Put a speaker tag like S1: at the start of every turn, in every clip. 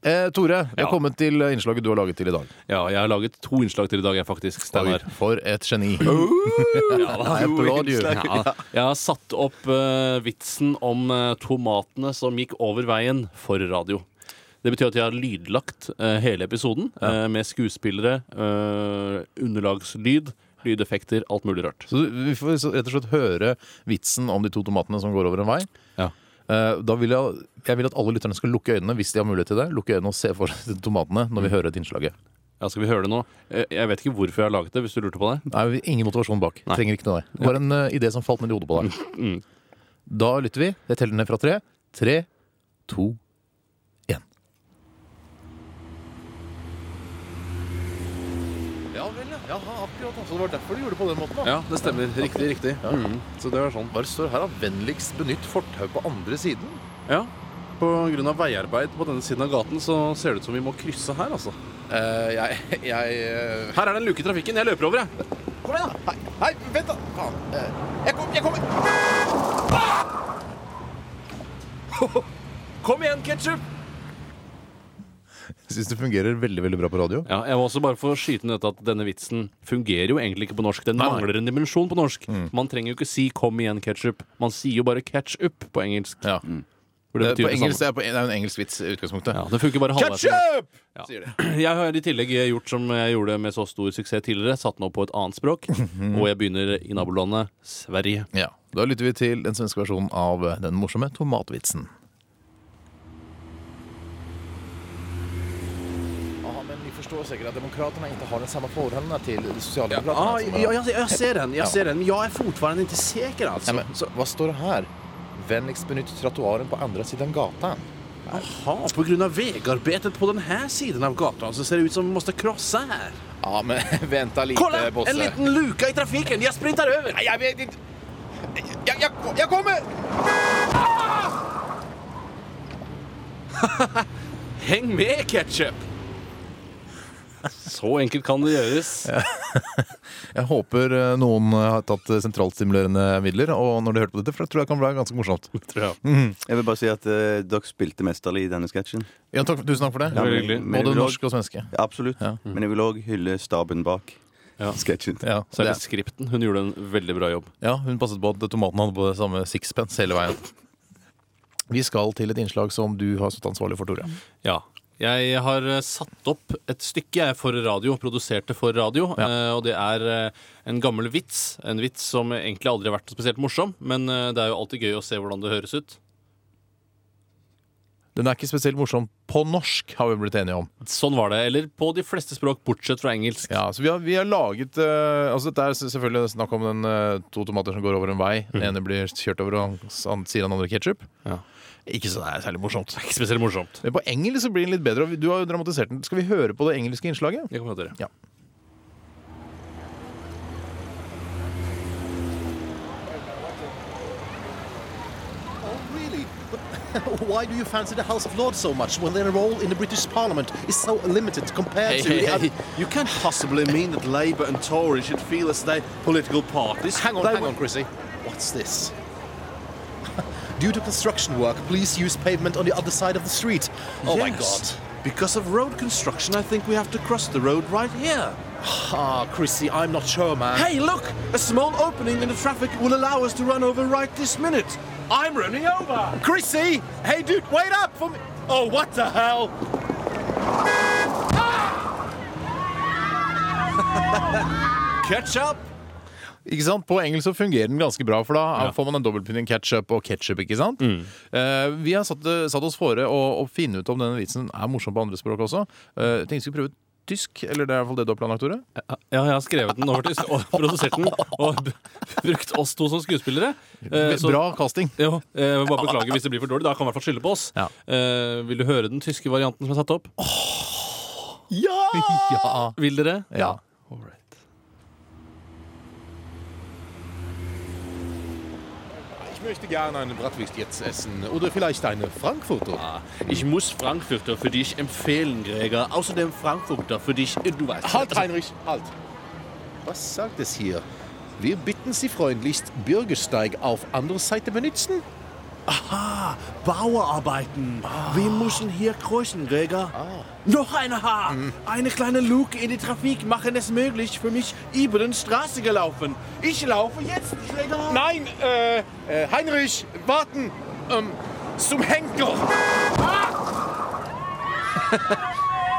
S1: Eh, Tore, jeg
S2: Ja.
S1: har kommet til innslaget du har laget til i dag.
S2: Ja, jeg har laget to innslag til i dag, jeg faktisk. Steinar.
S1: Oi, for et geni.
S2: Ja, da.
S1: I applaud you.
S2: Ja. Jeg har satt opp eh, vitsen om eh, tomatene som gikk over veien for radio. Det betyr at jeg har lydlagt eh, hele episoden eh, med skuespillere, eh, underlagslyd, lydeffekter, alt mulig rart.
S1: Så du- vi får så rett og slett høre vitsen om de to tomatene som går over en vei.
S2: Ja.
S1: Eh, Da vil jeg, jeg vil at alle lytterne skal lukke øynene hvis de har mulighet til det. Lukke øynene og se for seg de tomatene når vi hører et innslaget.
S2: skal vi høre det nå? Eh, Jeg vet ikke hvorfor jeg har laget det, hvis du lurte på det.
S1: Nei, vi- ingen motivasjon bak. Trenger ikke noe der. Det var en eh, idé som falt ned i hodet på deg.
S2: Mm.
S1: Da lytter vi. Jeg teller ned fra tre. Tre, to, én. Ja vel, ja. akkurat. Så det var derfor du gjorde det på den måten? da.
S2: Ja, det stemmer. Riktig, riktig. Mm, så det var sånn.
S1: Bare står her da, vennligst benytt fortau på andre siden.
S2: Ja. På grunn av veiarbeid på denne siden av gaten, så ser det ut som vi må krysse her, altså.
S1: Eh, jeg, jeg eh,
S2: Her er det en luke i trafikken. Jeg løper over, jeg.
S3: Kom igjen, da! Hei, hei vent, da! Faen. Eh, Jeg, kom, jeg kommer!
S1: Ah!
S2: Kom igjen, ketsjup!
S1: synes det fungerer veldig, veldig bra på radio.
S2: Ja, jeg må også bare få skyte ned at Denne vitsen fungerer jo egentlig ikke på norsk. Den
S1: Nei, Mm. nei.
S2: mangler en dimensjon på norsk. Man trenger jo ikke si 'kom igjen, ketchup'. Man sier jo bare 'catch up' på engelsk.
S1: Ja.
S2: For
S1: Mm. Det,
S2: det
S1: er Eh, på
S2: betyr det
S1: engelsk,
S2: samme.
S1: det, er på, det er jo en engelsk vits i utgangspunktet.
S2: Ja, det funker bare halvveis.
S1: Ketchup!
S2: Ja.
S1: Sier de.
S2: Jeg har i tillegg gjort som jeg gjorde med så stor suksess tidligere, satt den opp på et annet språk.
S1: Mhm.
S2: Og jeg begynner i nabolandet Sverige.
S1: Ja. Da lytter vi til den svenske versjonen av den morsomme tomatvitsen.
S3: Ja, men ni förstår säkert att Demokraterna inte har den samma förhållandena till Socialdemokraterna.
S1: Ah,
S2: Ah,
S3: som har-
S2: jeg, ser den, jeg ser den. Men jeg er fortsatt ikke sikker,
S3: Nej,
S2: altså.
S3: men, så, vad står det här? Vänligst benytt trottoaren på andra sidan gatan.
S2: Aha, på grunn av veiarbeidet på denne siden av gata så ser det ut som vi må krosse her.
S3: Ja, men vänta lite,
S1: Eh,
S3: Bosse.
S2: luka i trafikken! Jeg sprinter over!
S3: Nej, jag vet inte. Jag, jag, jag kommer!
S2: Heng med, ketchup! Så enkelt kan det gjøres.
S1: Jeg håper eh, noen eh, har tatt eh, sentralstimulerende midler, og når de hørte på dette, for det tror jeg kan bli ganske morsomt.
S2: Mm,
S4: Jeg vil bare si at eh, dere spilte mesterlig i denne sketsjen.
S1: Ja, takk, tusen takk for det.
S4: Ja, men-
S2: hyggelig.
S4: men jeg
S1: Både
S4: vil også-
S1: norsk og svenske.
S4: Ja, Absolutt. Men jeg vil òg hylle staben bak
S2: Ja.
S4: sketsjen.
S1: Ja,
S2: Så er det
S1: det-
S2: skripten. Hun gjorde en veldig bra jobb.
S1: ja, hun passet på at tomaten hadde på det samme sixpence hele veien. Vi skal til et innslag som du har stått ansvarlig for, Tore.
S3: Mm.
S2: Ja. Jeg har eh, satt opp et stykke jeg, for radio, produserte for radio. eh, Og det er eh, en gammel vits. En vits som egentlig aldri har vært spesielt morsom, men eh, det er jo alltid gøy å se hvordan det høres ut.
S1: Den er ikke spesielt morsom på norsk, har vi blitt enige om.
S2: Sånn var det. Eller på de fleste språk, bortsett fra engelsk.
S1: Ja, så vi har, vi har laget eh, Altså Dette er s- selvfølgelig snakk om den eh, to tomater som går over en vei. Den ene blir kjørt over, og han s- han sier han andre ketsjup.
S2: Mhm. Ja.
S1: Ikke så det er særlig morsomt.
S2: Ikke spesielt morsomt.
S1: Men på engelsk så blir den litt bedre. og vi- Du har jo dramatisert den. Skal vi høre på det engelske innslaget?
S2: Det kan vi gjøre.
S1: Ja.
S3: Oh, really? But why do you fancy the House of Lords so much when their role in the British Parliament is so limited compared to the other...
S5: You can't possibly mean that Labour and Tories should feel as they political parties.
S3: Hang on,
S5: They
S3: hang
S5: were-
S3: on, Chrissy. What's this? Due to construction work, please use pavement on the other side of the street. Oh my god.
S5: Yes. Because of road construction, I think we have to cross the road right here.
S3: Ah, Chrissy, I'm not sure, man.
S5: Hey, look! A small opening in the traffic will allow us to run over right this minute. I'm running over!
S3: Chrissy! Hey, dude, wait up for me!
S5: Oh, what the hell? Catch up!
S1: Ikke sant? På engelsk så fungerer den ganske bra, for da får man en dobbeltpinning ketchup og ketchup. Ikke sant?
S2: Mm.
S1: Eh, vi har satt, eh, satt oss fore å, å finne ut om denne vitsen er morsom på andre språk også. Uh, tenkte vi skulle prøve tysk, eller det er i hvert fall det du har planlagt, Tore?
S2: Ja, jeg har skrevet den over til og produsert den, og b- brukt oss to som skuespillere. Eh, så-
S1: Bra casting.
S2: Jo, eh, jeg vil bare beklage hvis det blir for dårlig. Da kan du i hvert fall skylde på oss.
S1: Ja.
S2: Eh, vil du høre den tyske varianten som er satt opp?
S1: Ja!
S2: Vil dere?
S1: ja.
S3: Ich möchte gerne eine Bratwurst jetzt essen. Oder vielleicht eine Frankfurter.
S5: Ah,
S2: Ich muss Frankfurter für dich empfehlen, Gregor. Außerdem Frankfurter für dich, du weißt.
S3: Halt, Heinrich, halt! Was sagt es hier? Wir bitten Sie freundlichst, Bürgersteig auf andere Seite benutzen?
S5: Aha, Bauerarbeiten.
S3: Ah.
S5: Wir müssen hier kreuzen, Gregor. Noch eine Haar. Eine kleine Luke in die Trafik machen es möglich für mich, über den Straße gelaufen. Ich laufe jetzt, Gregor.
S1: Nein, äh, äh, Heinrich, warten! Ähm, zum Henker!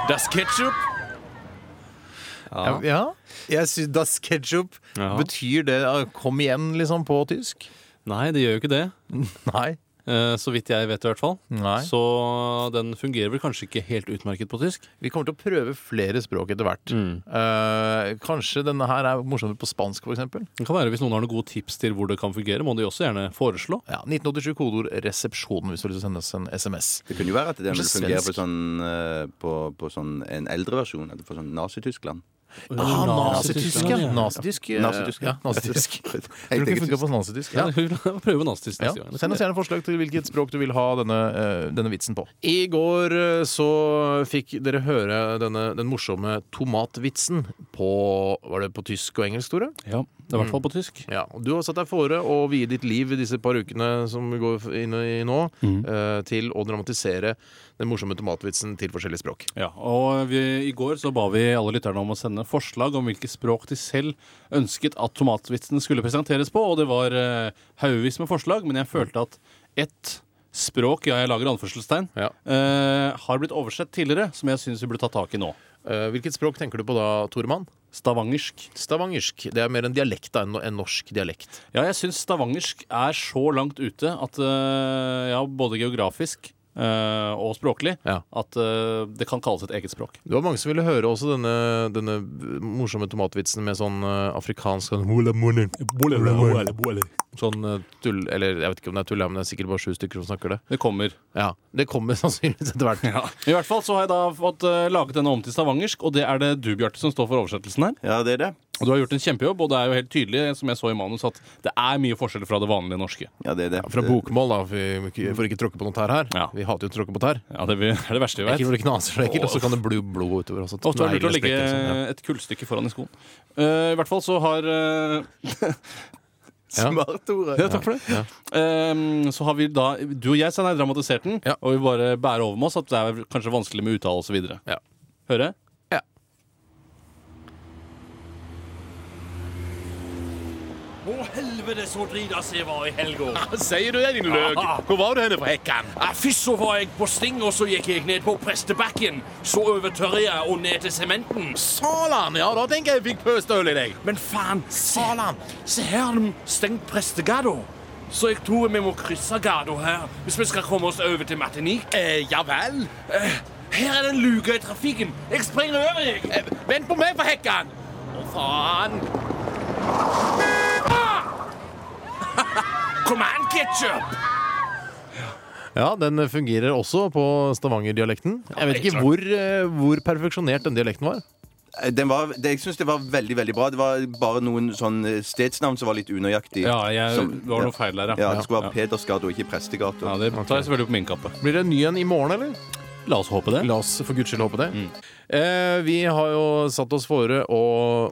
S2: Das Ketchup.
S1: Ja. Jeg sy das ketchup
S2: Ja.
S1: betyr det eh, kom igjen, liksom, på tysk?
S2: Nei, det gjør jo ikke det.
S1: Nei.
S2: Eh, Så vidt jeg vet, i hvert fall.
S1: Mm. Nei.
S2: Så den fungerer vel kanskje ikke helt utmerket på tysk.
S1: Vi kommer til å prøve flere språk etter hvert. Eh, kanskje denne her er morsommere på spansk, for eksempel.
S2: Det kan være Hvis noen har noen gode tips til hvor det kan fungere, må de også gjerne foreslå.
S1: Ja, 1987 kodeord 'resepsjon' hvis du har lyst til å sende oss en SMS.
S4: Det kunne jo være at den
S1: Kanskje
S4: ville fungere på,
S1: svensk.
S4: sånn, eh, på, på sånn, en eldre versjon. at det- For sånn Nazi-Tyskland.
S1: Ah, nazitysk,
S2: Nazi-Tyskland,
S1: ja.
S2: ja.
S1: Nazitysk. eh,
S4: Nazitysk, ja.
S1: Ja, nazitysk. Tror
S4: Helt
S1: du ikke det
S4: eget
S1: funker på nazitysk? Ja.
S2: Ja. Prøve nazist
S1: Ja.
S2: neste gang.
S1: Send oss gjerne forslag til hvilket språk du vil ha denne, eh, denne vitsen på. I går eh, så fikk dere høre denne, den morsomme tomatvitsen på Var det på tysk og engelsk, Tore?
S2: Ja, det er I hvert fall på tysk.
S1: Ja, og Du har satt deg fore å vie ditt liv i disse par ukene som vi går inn i nå, eh, til å dramatisere den morsomme tomatvitsen til forskjellige språk.
S2: Ja, og vi, I går så ba vi alle lytterne om å sende forslag om hvilke språk de selv ønsket at tomatvitsen skulle presenteres på. Og det var eh, haugevis med forslag, men jeg følte at ett språk ja, jeg lager anførselstegn,
S1: Ja.
S2: eh, har blitt oversett tidligere, som jeg syns vi burde ta tak i nå.
S1: Eh, hvilket språk tenker du på da, Toremann?
S2: Stavangersk.
S1: Stavangersk. Det er mer en dialekt da, enn en norsk dialekt.
S2: Ja, jeg syns stavangersk er så langt ute at eh, Ja, både geografisk eh, og språklig
S1: Ja.
S2: at eh, det kan kalles et eget språk.
S1: Det var mange som ville høre også denne, denne morsomme tomatvitsen med sånn eh, afrikansk sånn, «Hula muni», sånn eh, tull, eller jeg vet ikke om det er tull, ja, men det er sikkert bare sju stykker som snakker det.
S2: Det kommer.
S1: Ja, Det kommer sannsynligvis etter hvert.
S2: I hvert fall så har jeg da fått eh, laget denne om til stavangersk, og det er det du, Bjarte, som står for oversettelsen her.
S4: Ja, det er det.
S2: Og du har gjort en kjempejobb, og det er jo helt tydelig, som jeg så i manus, at det er mye forskjell fra det vanlige norske.
S4: Ja, det er det.
S1: Fra bokmål, da, for vi- for ikke tråkke på noe tær her.
S2: Ja.
S1: Vi hater jo å tråkke på tær.
S2: Ja, det er det verste vi
S1: Ekkelt
S2: vet.
S1: når det knaser så ekkelt, og så kan det bli blod utover. Også.
S2: Ofte er det lurt å
S1: Neglene
S2: legge
S1: sprekker og sånn, ja.
S2: et kullstykke foran i skoen. Eh, I hvert fall så har eh,
S4: Smart, Tore.
S2: Ja, takk for det. Ehm, så har vi da Du og jeg Steinar, dramatisert den,
S1: Ja.
S2: og vi bare bærer over med oss at det er kanskje vanskelig med uttale osv.
S1: Ja.
S2: Høre?
S1: Ja.
S5: Å, helvete så drita jeg var i helga.
S1: Sier du det, din løk? Hvor var du henne på hekken?
S5: Ja, Først så var jeg på Sting, og så gikk jeg ned på prestebakken. Så over tørja og ned til sementen.
S1: Salan! Ja, da tenker jeg jeg fikk pøstøl i deg.
S5: Men faen, se,
S1: Salan!
S5: se her har de stengt prestegata. Så jeg tror vi må krysse gata her hvis vi skal komme oss over til Martinique.
S1: Eh, ja vel?
S5: Eh, her er det en luke i trafikken. Jeg springer over, jeg.
S1: Eh, vent på meg, for hekken! Å, faen!
S5: Ah! Kom an, ketchup!
S1: Ja, den fungerer også på stavangerdialekten. Jeg vet ikke hvor, eh, hvor perfeksjonert den dialekten var.
S4: Eh, Den var, det, jeg syns det var veldig veldig bra. Det var bare noen sånn stedsnavn som var litt unøyaktig.
S2: Ja, jeg- det var noe
S4: ja.
S2: feil der, ja.
S4: ja. det skulle være Pedersgata og ikke Prestegata.
S2: Ja, Det tar jeg selvfølgelig på min kappe.
S1: Blir det en ny en i morgen, eller?
S2: La oss håpe det.
S1: La oss for guds skyld håpe det. Eh, vi har jo satt oss fore å,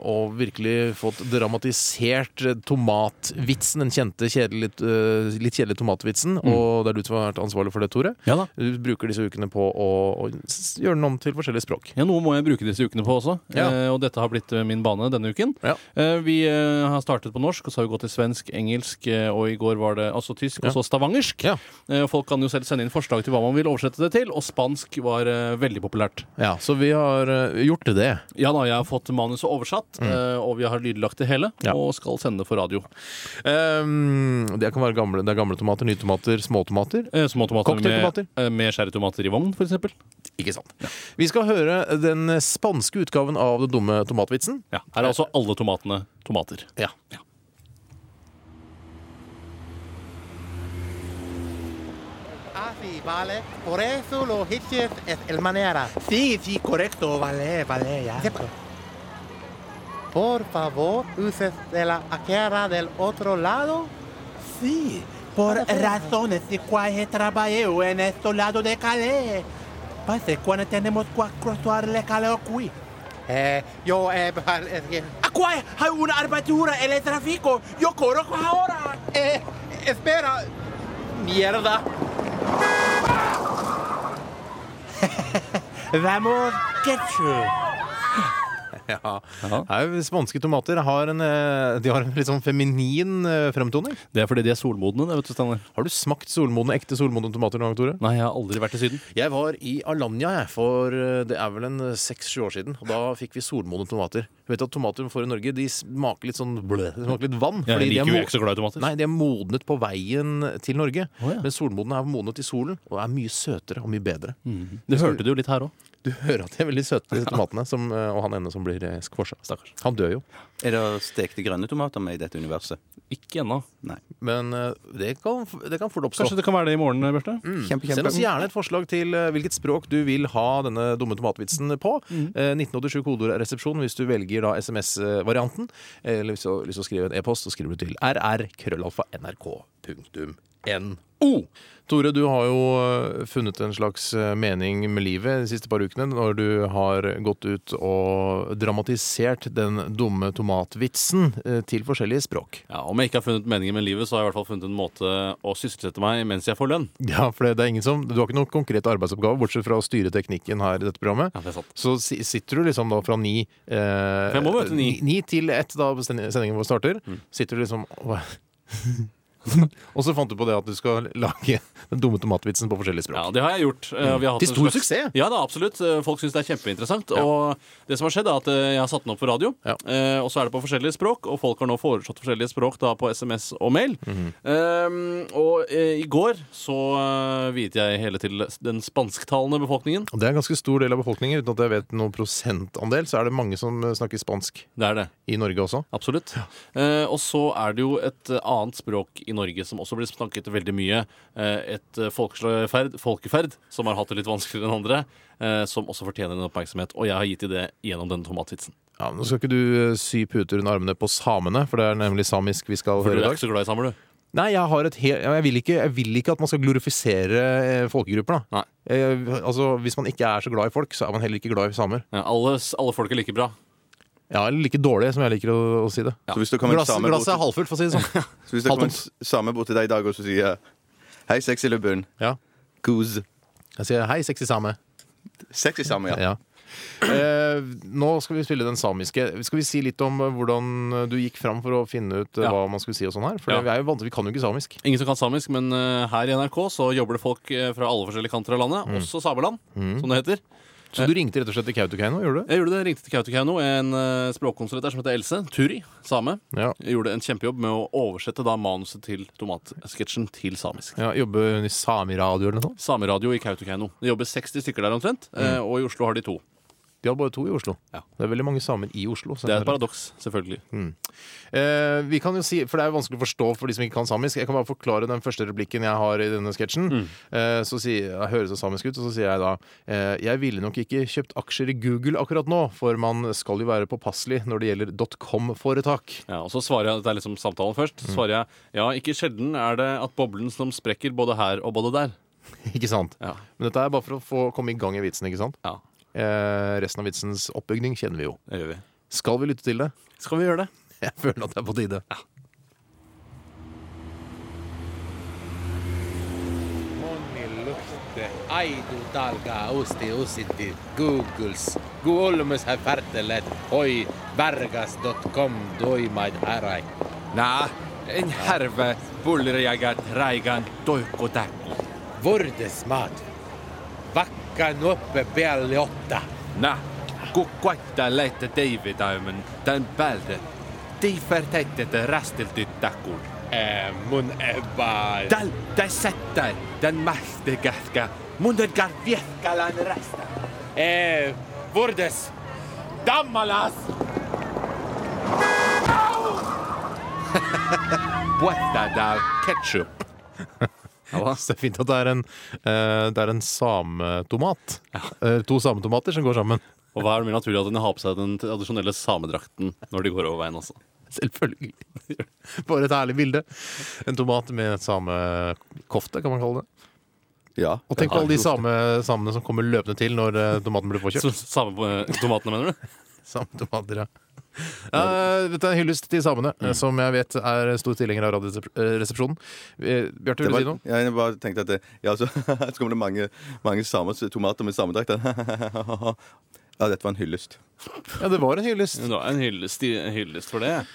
S1: å virkelig fått dramatisert eh, tomatvitsen, den kjente, kjedelige, litt, eh, litt kjedelige tomatvitsen. Og det er du som har vært ansvarlig for det, Tore.
S2: Ja da.
S1: Du bruker disse ukene på å, å s- gjøre den om til forskjellige språk.
S2: Ja, Noe må jeg bruke disse ukene på også,
S1: Ja.
S2: eh, og dette har blitt eh, min bane denne uken.
S1: Ja.
S2: Eh, vi eh, har startet på norsk, og så har vi gått til svensk, engelsk, eh, og i går var det altså tysk, og så stavangersk.
S1: Ja.
S2: Eh, folk kan jo selv sende inn forslag til hva man vil oversette det til, og spansk var eh, veldig populært.
S1: Ja, Så vi har eh, gjort det.
S2: Ja da, jeg har fått manuset oversatt, eh, og vi har lydlagt det hele,
S1: Mm. Ja.
S2: og skal sende det for radio.
S1: Ehm, det kan være gamle, det er gamle tomater, nye tomater, småtomater.
S2: Eh, Små tomater med,
S1: Cocktailtomater.
S2: eh, med sherrytomater i vogn, f.eks.
S1: Ikke sant. Vi skal høre den spanske utgaven av den dumme tomatvitsen.
S2: Ja, her er altså alle tomatene tomater.
S1: Ja.
S6: sí, vale. Por eso los hitches es el manera. Sí, sí, correcto. Vale, vale, ya. Por favor, uses de la aquera del otro lado. Sí, por razones de cuales trabajo en este lado de Calais. Pase cuando tenemos que cruzar el Calais aquí. Eh, yo, eh, vale, es que... Aquí hay una armadura en el tráfico. Yo corro ahora. Eh, espera. mierda. Vamos, ketchup.
S1: Ja. Nei, Spanske tomater har en, eh, de har en litt sånn feminin eh, fremtoning.
S2: Det er fordi de er solmodne, det, vet du, Steinar.
S1: Har du smakt solmodne, ekte solmodne tomater noen gang, Tore?
S2: Nei, jeg har aldri vært i Syden.
S1: Jeg var i Alanya jeg, for eh, det er vel en seks-sju år siden. Og da fikk vi solmodne tomater. Du vet at Tomater vi får i Norge, de smaker litt sånn blø, de smaker litt vann.
S2: Jeg
S1: fordi de er
S2: liker jo
S1: mo-
S2: ikke så glad i tomater.
S1: Nei, de er modnet på veien til Norge.
S2: Å, ja.
S1: Men solmodne er modnet i solen og er mye søtere og mye bedre.
S2: Mhm. Det hørte du jo litt her òg.
S1: Du hører at de er veldig søte, disse tomatene. Som, eh, og han ene som blir eh, skvorsa. Stakkars. Han dør jo.
S4: Er det stekte grønne tomater med i dette universet?
S2: Ikke ennå.
S4: Nei.
S1: Men eh, det kan, det kan fort oppstå. Mm.
S2: Kanskje det kan være det i morgen, Bjarte?
S4: Kjempe,
S1: Send
S4: kjempe.
S1: oss gjerne et forslag til eh, hvilket språk du vil ha denne dumme tomatvitsen på.
S2: Mm.
S1: Eh, 1987 kodoresepsjon hvis du velger da SMS-varianten. eh, Eller hvis du har lyst til å skrive en e-post, så skriver du til rr.krøllalfa.nrk.no. Tore, du har jo eh, funnet en slags eh, mening med livet de siste par ukene når du har gått ut og dramatisert den dumme tomatvitsen eh, til forskjellige språk.
S2: Ja, Om jeg ikke har funnet meningen med livet, så har jeg i hvert fall funnet en måte å sysselsette meg mens jeg får lønn.
S1: Ja, for det, det er ingen som, Du har ikke noen konkrete arbeidsoppgave bortsett fra å styre teknikken her i dette programmet.
S2: Ja, det er sant.
S1: Så si- sitter du liksom da fra ni eh,
S2: jeg må møte ni. Mm.
S1: til ett da send- sendingen vår starter. Sitter du liksom og, og så fant du på det at du skal lage den dumme tomatvitsen på forskjellige språk.
S2: Ja, det har jeg gjort. Eh, vi har
S1: Mm.
S2: hatt
S1: Til
S2: en
S1: stor
S2: slags-
S1: suksess.
S2: Ja, da, absolutt. Eh, Folk syns det er kjempeinteressant. Og det som har skjedd, er at eh, jeg har satt den opp på radio,
S1: Ja.
S2: eh, og så er det på forskjellige språk, og folk har nå foreslått forskjellige språk da på SMS og mail.
S1: Mhm.
S2: Eh, og eh, i går så eh, viet jeg hele til den spansktalende befolkningen.
S1: Og Det er en ganske stor del av befolkningen. Uten at jeg vet noen prosentandel, så er det mange som eh, snakker spansk
S2: Det er det.
S1: i Norge også.
S2: Absolutt. Eh, og så er det jo et eh, annet språk i Norge som også blir snakket veldig mye. Eh, et eh, folkeferd, folkeferd som har hatt det litt vanskeligere enn andre. Eh, som også fortjener en oppmerksomhet. Og jeg har gitt dem det gjennom denne tomatvitsen.
S1: Ja, men Nå skal ikke du eh, sy puter under armene på samene, for det er nemlig samisk vi skal
S2: For du
S1: høre i
S2: er
S1: dag.
S2: ikke så glad i samer, du.
S1: Nei, jeg, har et he- ja, jeg, vil ikke, jeg vil ikke at man skal glorifisere eh, folkegrupper. Da.
S2: Nei.
S1: Eh, altså, hvis man ikke er så glad i folk, så er man heller ikke glad i samer.
S2: Ja, Eh, alle, s- alle folk er like bra.
S1: Ja, eller like dårlig, som jeg liker å, å si det.
S4: Så hvis det kommer en
S1: Glass,
S4: same bort-
S1: glasset er halvfullt, for å si det sånn.
S4: så hvis det kommer en same bort til deg i dag og så sier jeg, Hei, sexy lubben.
S1: Ja.
S4: Goose.
S1: Jeg sier hei, sexy same.
S4: Sexy same, ja.
S1: Ja. Eh, nå skal vi spille den samiske. Skal vi si litt om eh, hvordan du gikk fram for å finne ut eh,
S2: Ja.
S1: hva man skulle si og sånn her? For
S2: Ja.
S1: det er jo vanskelig, vi kan jo ikke samisk.
S2: Ingen som kan samisk, men eh, her i NRK så jobber det folk eh, fra alle forskjellige kanter av landet.
S1: Mm.
S2: Også Sameland, som det heter.
S1: Så du ringte rett og slett til Kautokeino, gjorde du det?
S2: Jeg gjorde det, ringte til Kautokeino, en eh, språkkonsulent der som heter Else Turi, same.
S1: Ja.
S2: Jeg gjorde en kjempejobb med å oversette da manuset til tomatsketsjen til samisk.
S1: ja Jobbe i samiradio eller noe sånt?
S2: Sameradio i Kautokeino. Det jobber 60 stykker der omtrent, eh, og i Oslo har de to.
S1: De har bare to i Oslo.
S2: Ja.
S1: Det er veldig mange samer i Oslo. så
S2: Det er et paradoks, selvfølgelig.
S1: Eh, vi kan jo si, for Det er jo vanskelig å forstå for de som ikke kan samisk. Jeg kan bare forklare den første replikken jeg har i denne sketsjen. Eh, så sier, jeg høres det samisk ut, og så sier jeg da eh, Jeg ville nok ikke kjøpt aksjer i Google akkurat nå, for man skal jo være påpasselig når det gjelder .com-foretak.
S2: Ja, og så svarer jeg, Det er liksom samtalen først. Så svarer jeg ja, ikke sjelden er det at boblen som sprekker både her og både der.
S1: Ikke sant?
S2: Ja.
S1: Men dette er bare for å få komme i gang i vitsen, ikke sant?
S2: ja,
S1: Eh, resten av vitsens oppbygning kjenner vi jo.
S2: det gjør vi.
S1: Skal vi lytte til det?
S2: Skal vi gjøre det?
S1: Jeg føler at det er på tide.
S7: Monni lukte, aidu talga usti usitti, googles, guolmus hä färtelet, hoi vergas.com doimaid härai.
S8: Nää, en härve bullriagat räigän toikkotäk.
S7: Vordes maat, vakka nuoppe pealle otta.
S8: Nää, ku koittaa leitte teivitäymen tän päältä. Tiifertäitte rästilty täkun.
S7: Ää, mun ebaa.
S8: Täl, tässä tän, tän mähtikähkä. Mun enkään viehkälän rästä.
S7: Ää, vordes, dammalas!
S8: Puetta tääl ketchup.
S1: Så det er fint at det er en, eh, det er en sametomat. Eh, to sametomater som går sammen.
S2: Og hva er det mer naturlig at enn å ha på seg den tradisjonelle samedrakten når de går over veien også?
S1: Selvfølgelig. Bare et herlig bilde. En tomat med samekofte, kan man kalle det.
S4: ja.
S1: Og tenk på alle de same, samene som kommer løpende til når eh, tomaten blir
S2: Så,
S1: påkjørt.
S2: same, tomatene, mener du?
S1: Sametomater, ja. Eh, dette er en hyllest til samene, eh, som jeg vet er stor tilhenger av Radioresepsjonen. Eh, Bjarte,
S4: Det
S1: vil du
S4: var,
S1: si noe?
S4: ja, jeg bare tenkte at det- ja, så, så kommer det mange, mange samers tomater med samedrakt. Ja, dette var en hyllest.
S1: Ja, det var en hyllest.
S2: Det var en hyllest, en hyllest for det.